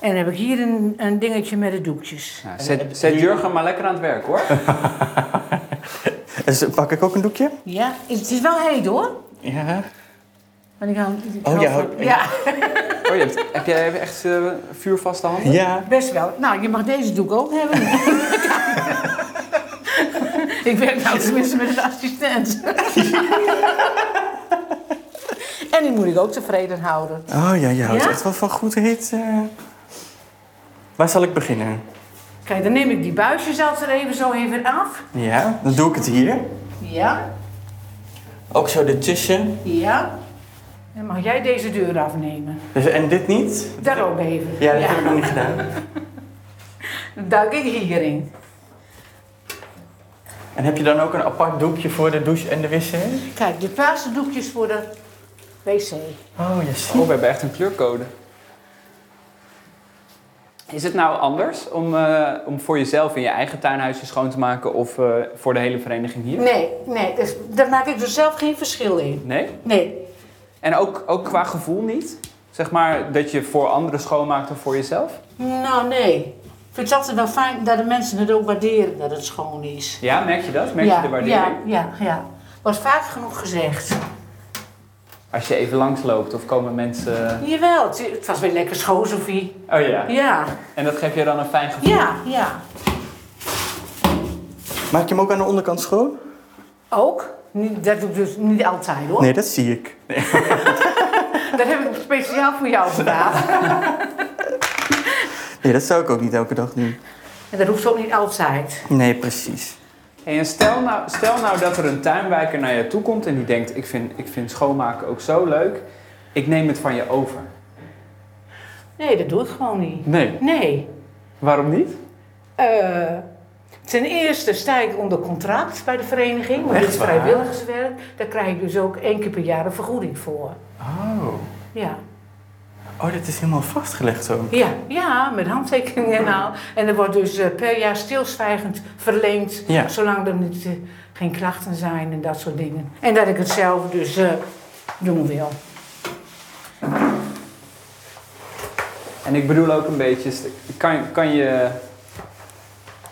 Speaker 2: En dan heb ik hier een, een dingetje met de doekjes.
Speaker 11: Nou, zet zet Jurgen maar lekker aan het werk hoor.
Speaker 4: En zo- Dus pak ik ook een doekje?
Speaker 2: Ja, het is wel heet hoor.
Speaker 4: Ja.
Speaker 2: Want ik hou, ik
Speaker 4: Oh,
Speaker 2: hou
Speaker 4: jij
Speaker 2: van-
Speaker 4: houdt-
Speaker 2: ja.
Speaker 11: Oh, je hebt, heb jij echt eh, vuurvaste handen?
Speaker 4: Ja.
Speaker 2: Best wel. Nou, je mag deze doek ook hebben. ik werk nou tenminste met een assistent. en die moet ik ook tevreden houden.
Speaker 4: Oh ja, je houdt
Speaker 2: Ja?
Speaker 4: echt wel van goed heet. eh. Waar zal ik beginnen?
Speaker 2: Kijk, dan neem ik die buisjes altijd even zo even af.
Speaker 4: Ja, dan doe ik het hier.
Speaker 2: Ja,
Speaker 4: Ook zo ertussen.
Speaker 2: ja. Dan mag jij deze deur afnemen.
Speaker 4: Dus, en dit niet?
Speaker 2: Daar ook even.
Speaker 4: Ja, dat heb ik nog niet gedaan.
Speaker 2: Dan duik ik hierin.
Speaker 4: En heb je dan ook een apart doekje voor de douche en de wc?
Speaker 2: Kijk, de paarse doekjes voor de wc.
Speaker 4: Oh, je
Speaker 11: Oh, we hebben echt een kleurcode. Is het nou anders om, eh, om voor jezelf in je eigen tuinhuisje schoon te maken of eh, voor de hele vereniging hier?
Speaker 2: Nee, nee, dus daar maak ik dus zelf geen verschil in.
Speaker 11: Nee?
Speaker 2: Nee,
Speaker 11: En ook, ook qua gevoel niet? Zeg maar dat je voor anderen schoonmaakt of voor jezelf?
Speaker 2: nou nee. Ik vind het altijd wel fijn dat de mensen het ook waarderen dat het schoon is.
Speaker 11: Ja, merk je dat? Merk
Speaker 2: ja,
Speaker 11: je de waardering?
Speaker 2: Ja, ja, ja. Wordt vaak genoeg gezegd.
Speaker 11: Als je even langsloopt of komen mensen...
Speaker 2: Jawel, het- het was weer lekker schoon, Sophie.
Speaker 11: Oh ja.
Speaker 2: Ja,
Speaker 11: En dat geeft je dan een fijn gevoel?
Speaker 2: ja, ja.
Speaker 4: Maak je hem ook aan de onderkant schoon?
Speaker 2: Ook? Niet- Dat doe ik dus niet altijd hoor.
Speaker 4: Nee, dat zie ik.
Speaker 2: Dat heb ik speciaal voor jou gedaan.
Speaker 4: Nee, dat zou ik ook niet elke dag doen.
Speaker 2: En dat hoeft ook niet altijd.
Speaker 4: Nee, precies.
Speaker 11: Hey, en stel nou, stel nou dat er een tuinwijker naar je toe komt en die denkt: ik vind, ik vind schoonmaken ook zo leuk, ik neem het van je over.
Speaker 2: Nee, dat doe ik gewoon niet.
Speaker 11: Nee.
Speaker 2: Nee.
Speaker 11: Waarom niet?
Speaker 2: Eh, ten eerste sta ik onder contract bij de vereniging. Want dit is
Speaker 11: Echt waar?
Speaker 2: vrijwilligerswerk. Daar krijg ik dus ook één keer per jaar een vergoeding voor.
Speaker 4: Oh.
Speaker 2: Ja.
Speaker 4: Oh, dat is helemaal vastgelegd zo.
Speaker 2: Ja, ja met handtekeningen en al. En er wordt dus eh, per jaar stilzwijgend verleend.
Speaker 4: Ja.
Speaker 2: Zolang er niet, eh, geen klachten zijn en dat soort dingen. En dat ik het zelf dus eh, doen wil.
Speaker 11: En ik bedoel ook een beetje: kan, kan, je,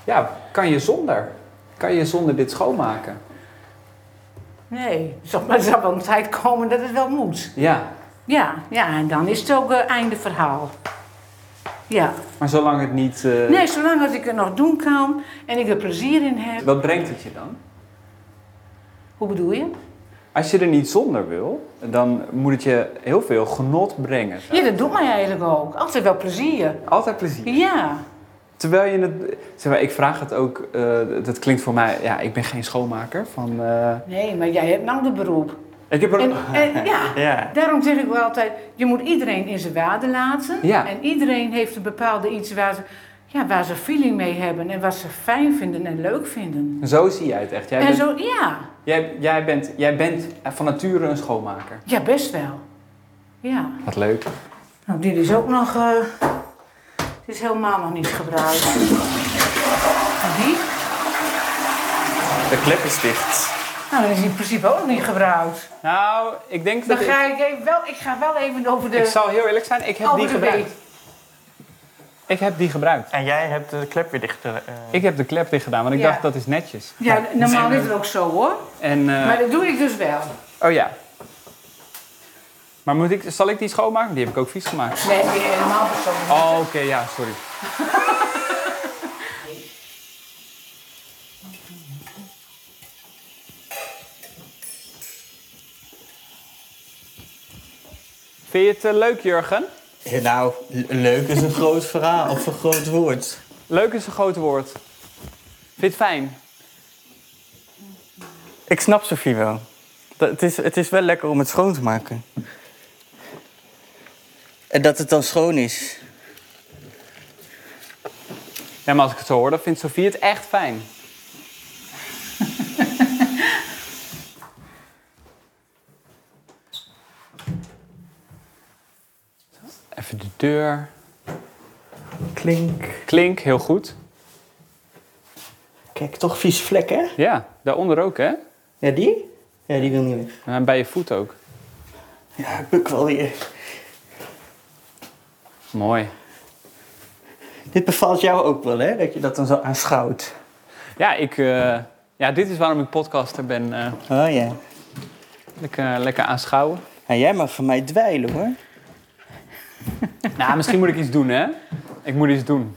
Speaker 11: ja, kan je zonder? Kan je zonder dit schoonmaken?
Speaker 2: Nee, er zal- maar er zal wel een tijd komen dat het wel moet.
Speaker 11: Ja,
Speaker 2: Ja, ja en dan is het ook eh, einde verhaal. Ja.
Speaker 11: maar zolang het niet. eh,
Speaker 2: Nee, zolang dat ik het nog doen kan en ik er plezier in heb.
Speaker 11: Wat brengt het je dan?
Speaker 2: Hoe bedoel je?
Speaker 11: Als je er niet zonder wil, dan moet het je heel veel genot brengen.
Speaker 2: Ja, dat doet mij eigenlijk ook. Altijd wel plezier.
Speaker 11: Altijd plezier.
Speaker 2: Ja.
Speaker 5: Terwijl je het... Zeg maar, ik vraag het ook... eh, dat klinkt voor mij... Ja, ik ben geen schoonmaker. Van, eh,
Speaker 2: Nee, maar jij hebt nou de beroep.
Speaker 5: ik heb er...
Speaker 2: En, en ja,
Speaker 5: ja.
Speaker 2: daarom zeg ik wel altijd, je moet iedereen in zijn waarde laten.
Speaker 5: Ja.
Speaker 2: En iedereen heeft een bepaalde iets waar ze, ja, waar ze feeling mee hebben en wat ze fijn vinden en leuk vinden.
Speaker 5: Zo zie jij het echt. Jij
Speaker 2: en
Speaker 5: bent,
Speaker 2: zo, ja,
Speaker 5: jij, jij, bent, jij bent van nature een schoonmaker.
Speaker 2: ja, best wel. Ja.
Speaker 5: Wat leuk.
Speaker 2: Nou, dit is ook nog, eh dit is helemaal nog niet gebruikt. En Oh, die?
Speaker 4: De klep is dicht.
Speaker 2: Nou, dat is in principe ook nog niet gebruikt.
Speaker 5: Nou, ik denk
Speaker 2: Dan
Speaker 5: dat
Speaker 2: ga
Speaker 5: ik...
Speaker 2: ik even wel, ik ga wel even over de...
Speaker 5: Ik zal heel eerlijk zijn, ik heb
Speaker 2: over
Speaker 5: die
Speaker 2: de
Speaker 5: gebruikt.
Speaker 2: week.
Speaker 5: Ik heb die gebruikt.
Speaker 4: En jij hebt de klep weer dicht. eh,
Speaker 5: Ik heb de klep dicht gedaan, want ik
Speaker 2: Ja.
Speaker 5: dacht dat is netjes.
Speaker 2: Ja, normaal
Speaker 5: En,
Speaker 2: is het ook zo hoor.
Speaker 5: En, eh,
Speaker 2: Maar dat doe ik dus wel.
Speaker 5: Oh ja. Maar moet ik, zal ik die schoonmaken? Die heb ik ook vies gemaakt.
Speaker 2: Nee, helemaal niet zo.
Speaker 5: Oh, oké, ja, sorry. Vind je het eh, leuk, Jurgen?
Speaker 16: Ja, nou, le- leuk is een groot verhaal of een groot woord.
Speaker 5: Leuk is een groot woord. Vind je het fijn?
Speaker 4: Ik snap Sofie wel. Dat, het, is, het is wel lekker om het schoon te maken.
Speaker 16: En dat het dan schoon is.
Speaker 5: Ja, maar als ik het zo hoor, dan vindt Sofie het echt fijn. Even de deur. Klink. Klink, heel goed.
Speaker 16: Kijk, toch vieze vlek, hè?
Speaker 5: Ja, daaronder ook, hè?
Speaker 16: Ja, die? Ja, die wil niet weg.
Speaker 5: En bij je voet ook.
Speaker 16: Ja, ik buk wel weer.
Speaker 5: Mooi.
Speaker 16: Dit bevalt jou ook wel, hè? Dat je dat dan zo aanschouwt.
Speaker 5: Ja, ik, eh, ja dit is waarom ik podcaster ben. eh.
Speaker 16: Oh ja.
Speaker 5: Lekker, lekker aanschouwen.
Speaker 4: Nou,
Speaker 16: En jij mag van mij dweilen, hoor.
Speaker 5: nou, misschien moet ik iets doen, hè? Ik moet iets doen.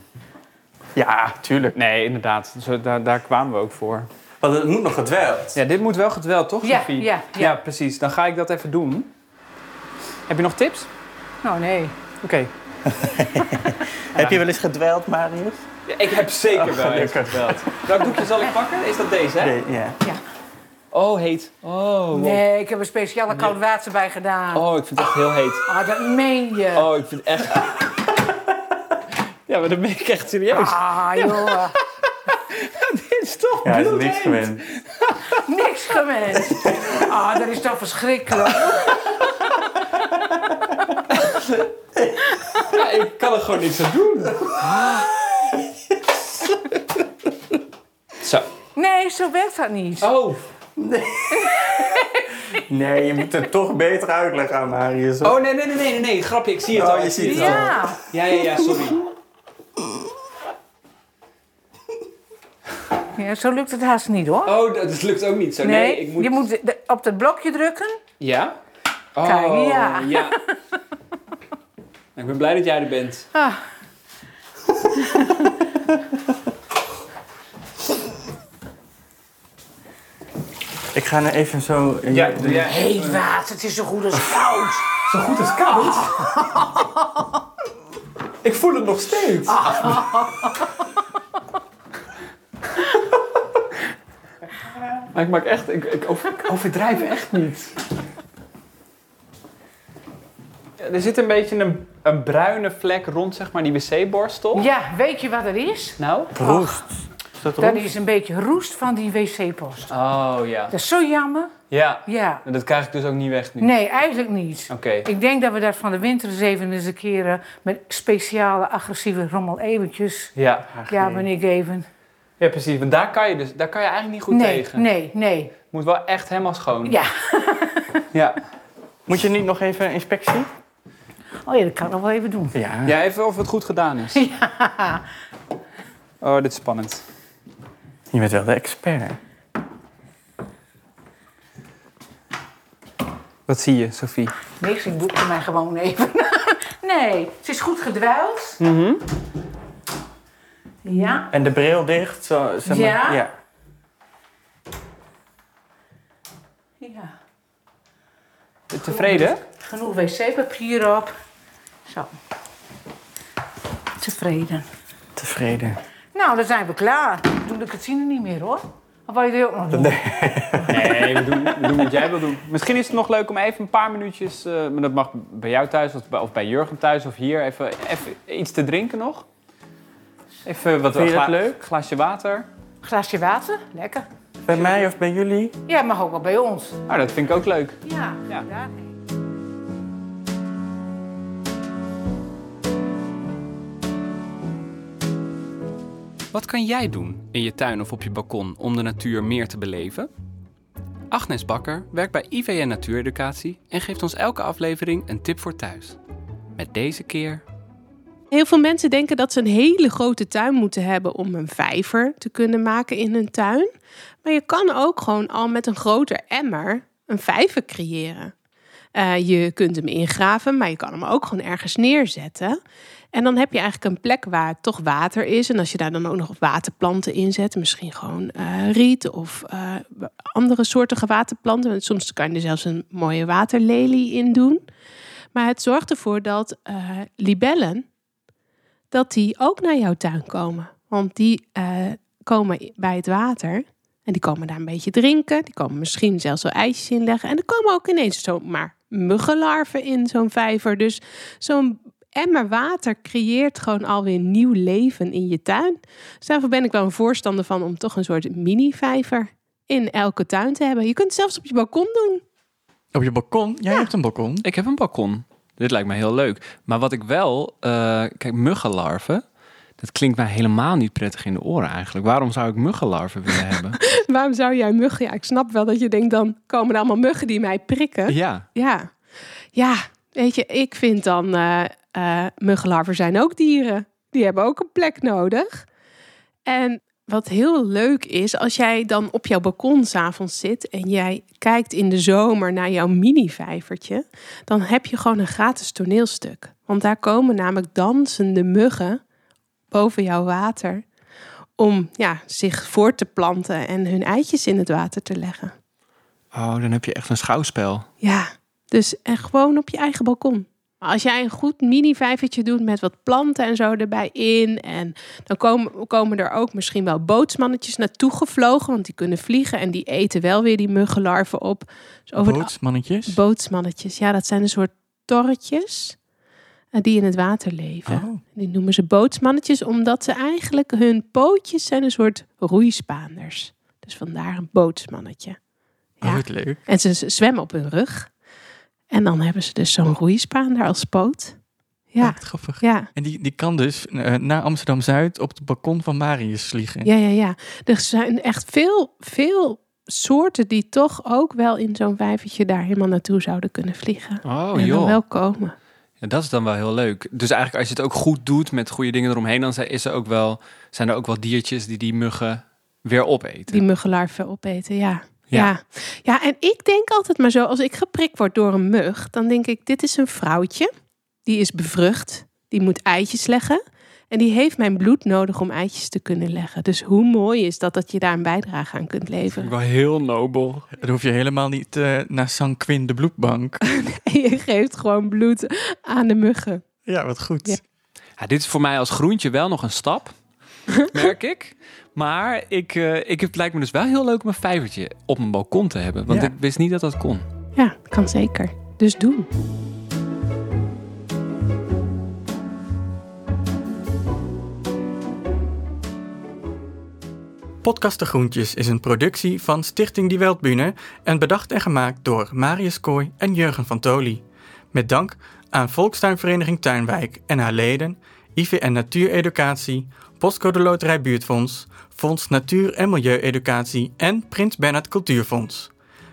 Speaker 5: Ja, tuurlijk. Nee, inderdaad. Zo, daar, daar kwamen we ook voor.
Speaker 16: Want het moet nog gedweld.
Speaker 5: Ja, dit moet wel gedweld, toch,
Speaker 2: Ja,
Speaker 5: Sophie?
Speaker 2: ja, ja.
Speaker 5: ja, precies. Dan ga ik dat even doen. Heb je nog tips?
Speaker 2: Nou, nee.
Speaker 5: Oké.
Speaker 16: Heb je wel eens gedweild, Marius?
Speaker 5: Ja, ik heb zeker wel eens gebeld. Welk doekje zal ik pakken? Is dat deze, hè?
Speaker 16: Nee, ja.
Speaker 5: Oh, heet. Oh, wow.
Speaker 2: Nee, ik heb er speciale koud water bij gedaan.
Speaker 5: Oh, ik vind het echt heel heet.
Speaker 2: Ah, dat meen je.
Speaker 5: Oh, ik vind het echt... ja, maar dan ben ik echt serieus.
Speaker 2: Ah, joh.
Speaker 5: Ah, Dit is toch
Speaker 4: Ja, hij is niks gewend.
Speaker 2: Niks gewenst. Ah, dat is toch verschrikkelijk.
Speaker 5: Ja, ik kan er gewoon niks aan doen. Zo.
Speaker 2: Nee, zo werkt dat niet.
Speaker 5: Oh.
Speaker 4: Nee, je moet het toch beter uitleggen aan Marius.
Speaker 5: Oh, nee, nee, nee, nee, nee, nee. Grapje, ik zie het
Speaker 4: Oh,
Speaker 5: al.
Speaker 4: je
Speaker 5: ik zie
Speaker 4: ziet
Speaker 5: het
Speaker 4: het
Speaker 5: al.
Speaker 4: al.
Speaker 5: Ja, ja, ja, sorry.
Speaker 2: Ja, zo lukt het haast niet hoor.
Speaker 5: Oh, dat, dat lukt ook niet zo. Nee, ik moet...
Speaker 2: je moet de- op dat blokje drukken.
Speaker 5: Ja? Oh,
Speaker 2: Kijk, ja.
Speaker 5: Ik ben blij dat jij er bent.
Speaker 2: Ah.
Speaker 4: Ik ga nou even zo...
Speaker 5: Ja, doe jij.
Speaker 2: Heet water, het is zo goed als koud.
Speaker 5: Zo goed als koud? Ik voel het nog steeds. Maar ik maak echt... Ik, ik over- ik overdrijf echt niet. Ja, Er zit een beetje een, een bruine vlek rond zeg maar, die wc-borstel.
Speaker 2: Ja, weet je wat er is?
Speaker 5: Nou?
Speaker 2: Roest.
Speaker 5: Is
Speaker 2: Dat, is een beetje roest van die wc-post.
Speaker 5: Oh ja.
Speaker 2: Dat is zo jammer.
Speaker 5: Ja.
Speaker 2: Ja.
Speaker 5: En dat krijg ik dus ook niet weg nu.
Speaker 2: Nee, eigenlijk niet.
Speaker 5: Oké.
Speaker 2: Ik denk dat we dat van de winter eens even eens een keer eh, met speciale agressieve rommel eventjes.
Speaker 5: Ja.
Speaker 2: Ja, meneer Geven.
Speaker 5: Ja, precies. Want daar kan je, dus, daar kan je eigenlijk niet goed
Speaker 2: nee,
Speaker 5: tegen.
Speaker 2: Nee, nee.
Speaker 5: Moet wel echt helemaal schoon.
Speaker 2: Ja.
Speaker 5: ja.
Speaker 4: Moet je niet nog even een inspectie?
Speaker 2: Oh ja, dat kan ik nog wel even doen.
Speaker 4: Ja.
Speaker 5: Ja, even of het goed gedaan is.
Speaker 2: Ja.
Speaker 5: Oh, dit is spannend.
Speaker 4: Je bent wel de expert.
Speaker 5: Wat zie je, Sophie?
Speaker 2: Niks, ik boekte mij gewoon even. nee, het is goed gedweld. Ja.
Speaker 4: En de bril dicht. Zo, zeg maar.
Speaker 2: Ja.
Speaker 4: ja.
Speaker 2: ja.
Speaker 5: Tevreden?
Speaker 2: Genoeg wc-papier op. Zo. Tevreden.
Speaker 7: Tevreden.
Speaker 2: Nou, dan zijn we klaar. Doe ik het zien er niet meer hoor. Of wil je dit ook nog doen?
Speaker 5: Nee, we doen, we doen wat jij wil doen. Misschien is het nog leuk om even een paar minuutjes, eh, maar dat mag bij jou thuis of bij, of bij Jurgen thuis of hier, even, even iets te drinken nog. Even wat
Speaker 7: Vind je dat
Speaker 5: gla-
Speaker 7: leuk?
Speaker 5: glaasje water.
Speaker 2: Glaasje water, lekker.
Speaker 7: Bij mij of bij jullie?
Speaker 2: Ja, mag ook wel bij ons.
Speaker 5: Nou, dat vind ik ook leuk.
Speaker 2: Ja, ja.
Speaker 4: Wat kan jij doen in je tuin of op je balkon om de natuur meer te beleven? Agnes Bakker werkt bij IVN Natuureducatie en geeft ons elke aflevering een tip voor thuis. Met deze keer.
Speaker 9: Heel veel mensen denken dat ze een hele grote tuin moeten hebben om een vijver te kunnen maken in hun tuin. Maar je kan ook gewoon al met een groter emmer een vijver creëren. Eh, je kunt hem ingraven, maar je kan hem ook gewoon ergens neerzetten. En dan heb je eigenlijk een plek waar toch water is. En als je daar dan ook nog waterplanten in zet, misschien gewoon eh, riet of eh, andere soortige waterplanten. Want Soms kan je er zelfs een mooie waterlelie in doen. Maar het zorgt ervoor dat eh, libellen dat die ook naar jouw tuin komen. Want die eh, komen i- bij het water en die komen daar een beetje drinken. Die komen misschien zelfs wel ijsjes inleggen. En er komen ook ineens zomaar muggenlarven in zo'n vijver. Dus zo'n emmer water creëert gewoon alweer nieuw leven in je tuin. Dus daarvoor ben ik wel een voorstander van om toch een soort mini-vijver in elke tuin te hebben. Je kunt het zelfs op je balkon doen.
Speaker 7: Op je balkon? Jij hebt een balkon?
Speaker 4: Ik heb een balkon. Dit lijkt mij heel leuk. Maar wat ik wel. eh, kijk, muggenlarven. Dat klinkt mij helemaal niet prettig in de oren eigenlijk. Waarom zou ik muggenlarven willen hebben?
Speaker 9: Waarom zou jij muggen? Ja, ik snap wel dat je denkt, dan komen er allemaal muggen die mij prikken.
Speaker 4: Ja.
Speaker 9: Ja, ja weet je, ik vind dan, eh eh, muggenlarven zijn ook dieren. Die hebben ook een plek nodig. En wat heel leuk is, als jij dan op jouw balkon s'avonds zit en jij kijkt in de zomer naar jouw mini-vijvertje, dan heb je gewoon een gratis toneelstuk. Want daar komen namelijk dansende muggen boven jouw water om ja, zich voor te planten en hun eitjes in het water te leggen.
Speaker 4: Oh, dan heb je echt een schouwspel.
Speaker 9: Ja, dus en gewoon op je eigen balkon. Maar Als jij een goed mini-vijvertje doet met wat planten en zo erbij in. En dan komen, komen er ook misschien wel bootsmannetjes naartoe gevlogen. Want die kunnen vliegen en die eten wel weer die muggenlarven op. Dus over de-
Speaker 7: Bootsmannetjes?
Speaker 9: bootsmannetjes. Ja, dat zijn een soort torretjes eh, die in het water leven.
Speaker 7: Oh.
Speaker 9: Die noemen ze bootsmannetjes omdat ze eigenlijk hun pootjes zijn een soort roeispaanders. Dus vandaar een bootsmannetje.
Speaker 7: Ja. Oh, Wat leuk.
Speaker 9: En ze z- zwemmen op hun rug. En dan hebben ze dus zo'n roeispaander als poot. Ja,
Speaker 7: grappig.
Speaker 9: Ja.
Speaker 7: En die, die kan dus eh, naar Amsterdam-Zuid op het balkon van Marius vliegen.
Speaker 9: Ja, ja, ja. Er zijn echt veel, veel soorten die toch ook wel in zo'n vijvertje daar helemaal naartoe zouden kunnen vliegen.
Speaker 4: Oh,
Speaker 9: en
Speaker 4: joh.
Speaker 9: dan wel komen.
Speaker 4: Ja, dat is dan wel heel leuk. Dus eigenlijk als je het ook goed doet met goede dingen eromheen, dan zijn- is er ook wel, zijn er ook wel diertjes die die muggen weer opeten.
Speaker 9: Die muggenlarven opeten, ja.
Speaker 4: Ja.
Speaker 9: Ja. ja. en ik denk altijd maar zo, als ik geprikt word door een mug, dan denk ik, dit is een vrouwtje. Die is bevrucht, die moet eitjes leggen. En die heeft mijn bloed nodig om eitjes te kunnen leggen. Dus hoe mooi is dat dat je daar een bijdrage aan kunt leveren.
Speaker 4: Wel heel nobel.
Speaker 7: Dan hoef je helemaal niet eh, naar San Quin de bloedbank.
Speaker 9: En je geeft gewoon bloed aan de muggen.
Speaker 7: Ja, wat goed.
Speaker 4: Ja, dit is voor mij als groentje wel nog een stap, merk ik. Maar ik, eh, ik, het lijkt me dus wel heel leuk om een vijvertje op mijn balkon te hebben. Want
Speaker 9: Ja.
Speaker 4: ik wist niet dat dat kon.
Speaker 9: Ja, kan zeker. Dus doen.
Speaker 7: Podcast De Groentjes is een productie van Stichting Die Weltbühne en bedacht en gemaakt door Marius Kooi en Jurgen van Toli. Met dank aan Volkstuinvereniging Tuinwijk en haar leden, IVN Natuureducatie, Postcode Loterij Buurtfonds, Fonds Natuur en Milieueducatie en Prins Bernhard Cultuurfonds.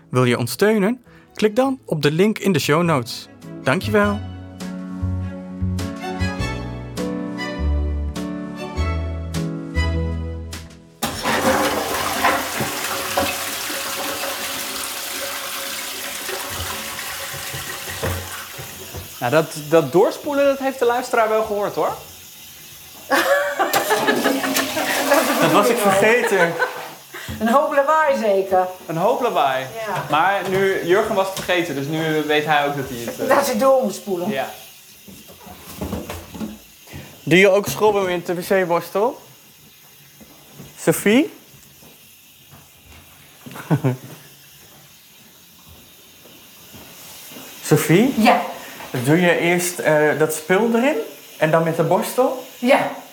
Speaker 7: Wil je ons steunen? Klik dan op de link in de show notes. Dankjewel!
Speaker 5: Nou, dat, dat doorspoelen, dat heeft de luisteraar wel gehoord hoor.
Speaker 7: Dat was ik vergeten.
Speaker 2: Een hoop lawaai zeker.
Speaker 5: Een hoop lawaai. Maar nu, Jurgen was het vergeten, dus nu weet hij ook dat hij het... eh,
Speaker 2: Dat ze door moet spoelen.
Speaker 5: Ja.
Speaker 4: Doe je ook schrobben met de wc-borstel? Sophie? Sophie?
Speaker 2: Ja.
Speaker 4: Doe je eerst eh, dat spul erin en dan met de borstel?
Speaker 2: Ja.